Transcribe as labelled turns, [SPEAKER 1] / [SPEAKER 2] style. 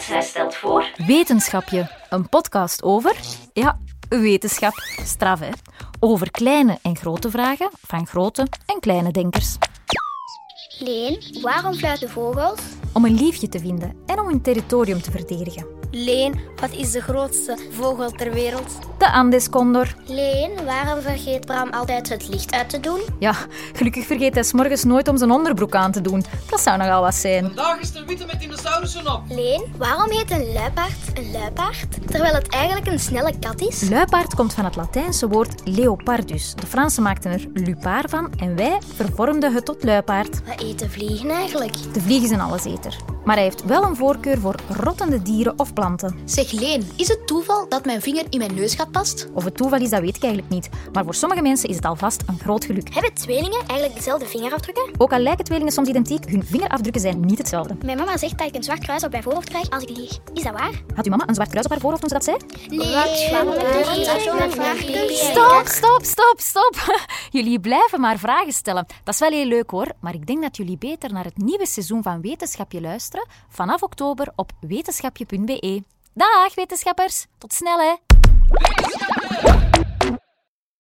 [SPEAKER 1] Zij stelt voor.
[SPEAKER 2] Wetenschapje, een podcast over, ja, wetenschap, straf hè, over kleine en grote vragen van grote en kleine denkers.
[SPEAKER 3] Leen, waarom fluiten vogels?
[SPEAKER 2] Om een liefje te vinden en om hun territorium te verdedigen.
[SPEAKER 4] Leen, wat is de grootste vogel ter wereld?
[SPEAKER 2] De Andescondor.
[SPEAKER 3] Leen, waarom vergeet Bram altijd het licht uit te doen?
[SPEAKER 2] Ja, gelukkig vergeet hij 's morgens nooit om zijn onderbroek aan te doen. Dat zou nogal wat zijn.
[SPEAKER 5] Vandaag is er witte met dinosaurussen op.
[SPEAKER 3] Leen, waarom heet een luipaard een luipaard, terwijl het eigenlijk een snelle kat is?
[SPEAKER 2] Luipaard komt van het Latijnse woord leopardus. De Fransen maakten er lupaar van en wij vervormden het tot luipaard.
[SPEAKER 3] Wat eten vliegen eigenlijk?
[SPEAKER 2] De vlieg is een alleseter. Maar hij heeft wel een voorkeur voor rottende dieren of planten.
[SPEAKER 6] Zeg Leen, is het toeval dat mijn vinger in mijn neusgat past?
[SPEAKER 2] Of het toeval is, dat weet ik eigenlijk niet. Maar voor sommige mensen is het alvast een groot geluk.
[SPEAKER 3] Hebben tweelingen eigenlijk dezelfde vingerafdrukken?
[SPEAKER 2] Ook al lijken tweelingen soms identiek, hun vingerafdrukken zijn niet hetzelfde.
[SPEAKER 3] Mijn mama zegt dat ik een zwart kruis op mijn voorhoofd krijg als ik lieg. Is dat waar?
[SPEAKER 2] Had uw mama een zwart kruis op haar voorhoofd toen ze dat zei?
[SPEAKER 3] Leen,
[SPEAKER 2] Stop, stop, stop, stop. Jullie blijven maar vragen stellen. Dat is wel heel leuk hoor, maar ik denk dat jullie beter naar het nieuwe seizoen van Wetenschapje luisteren vanaf oktober op wetenschapje.be. Dag wetenschappers, tot snel hè.
[SPEAKER 5] Wetenschapje!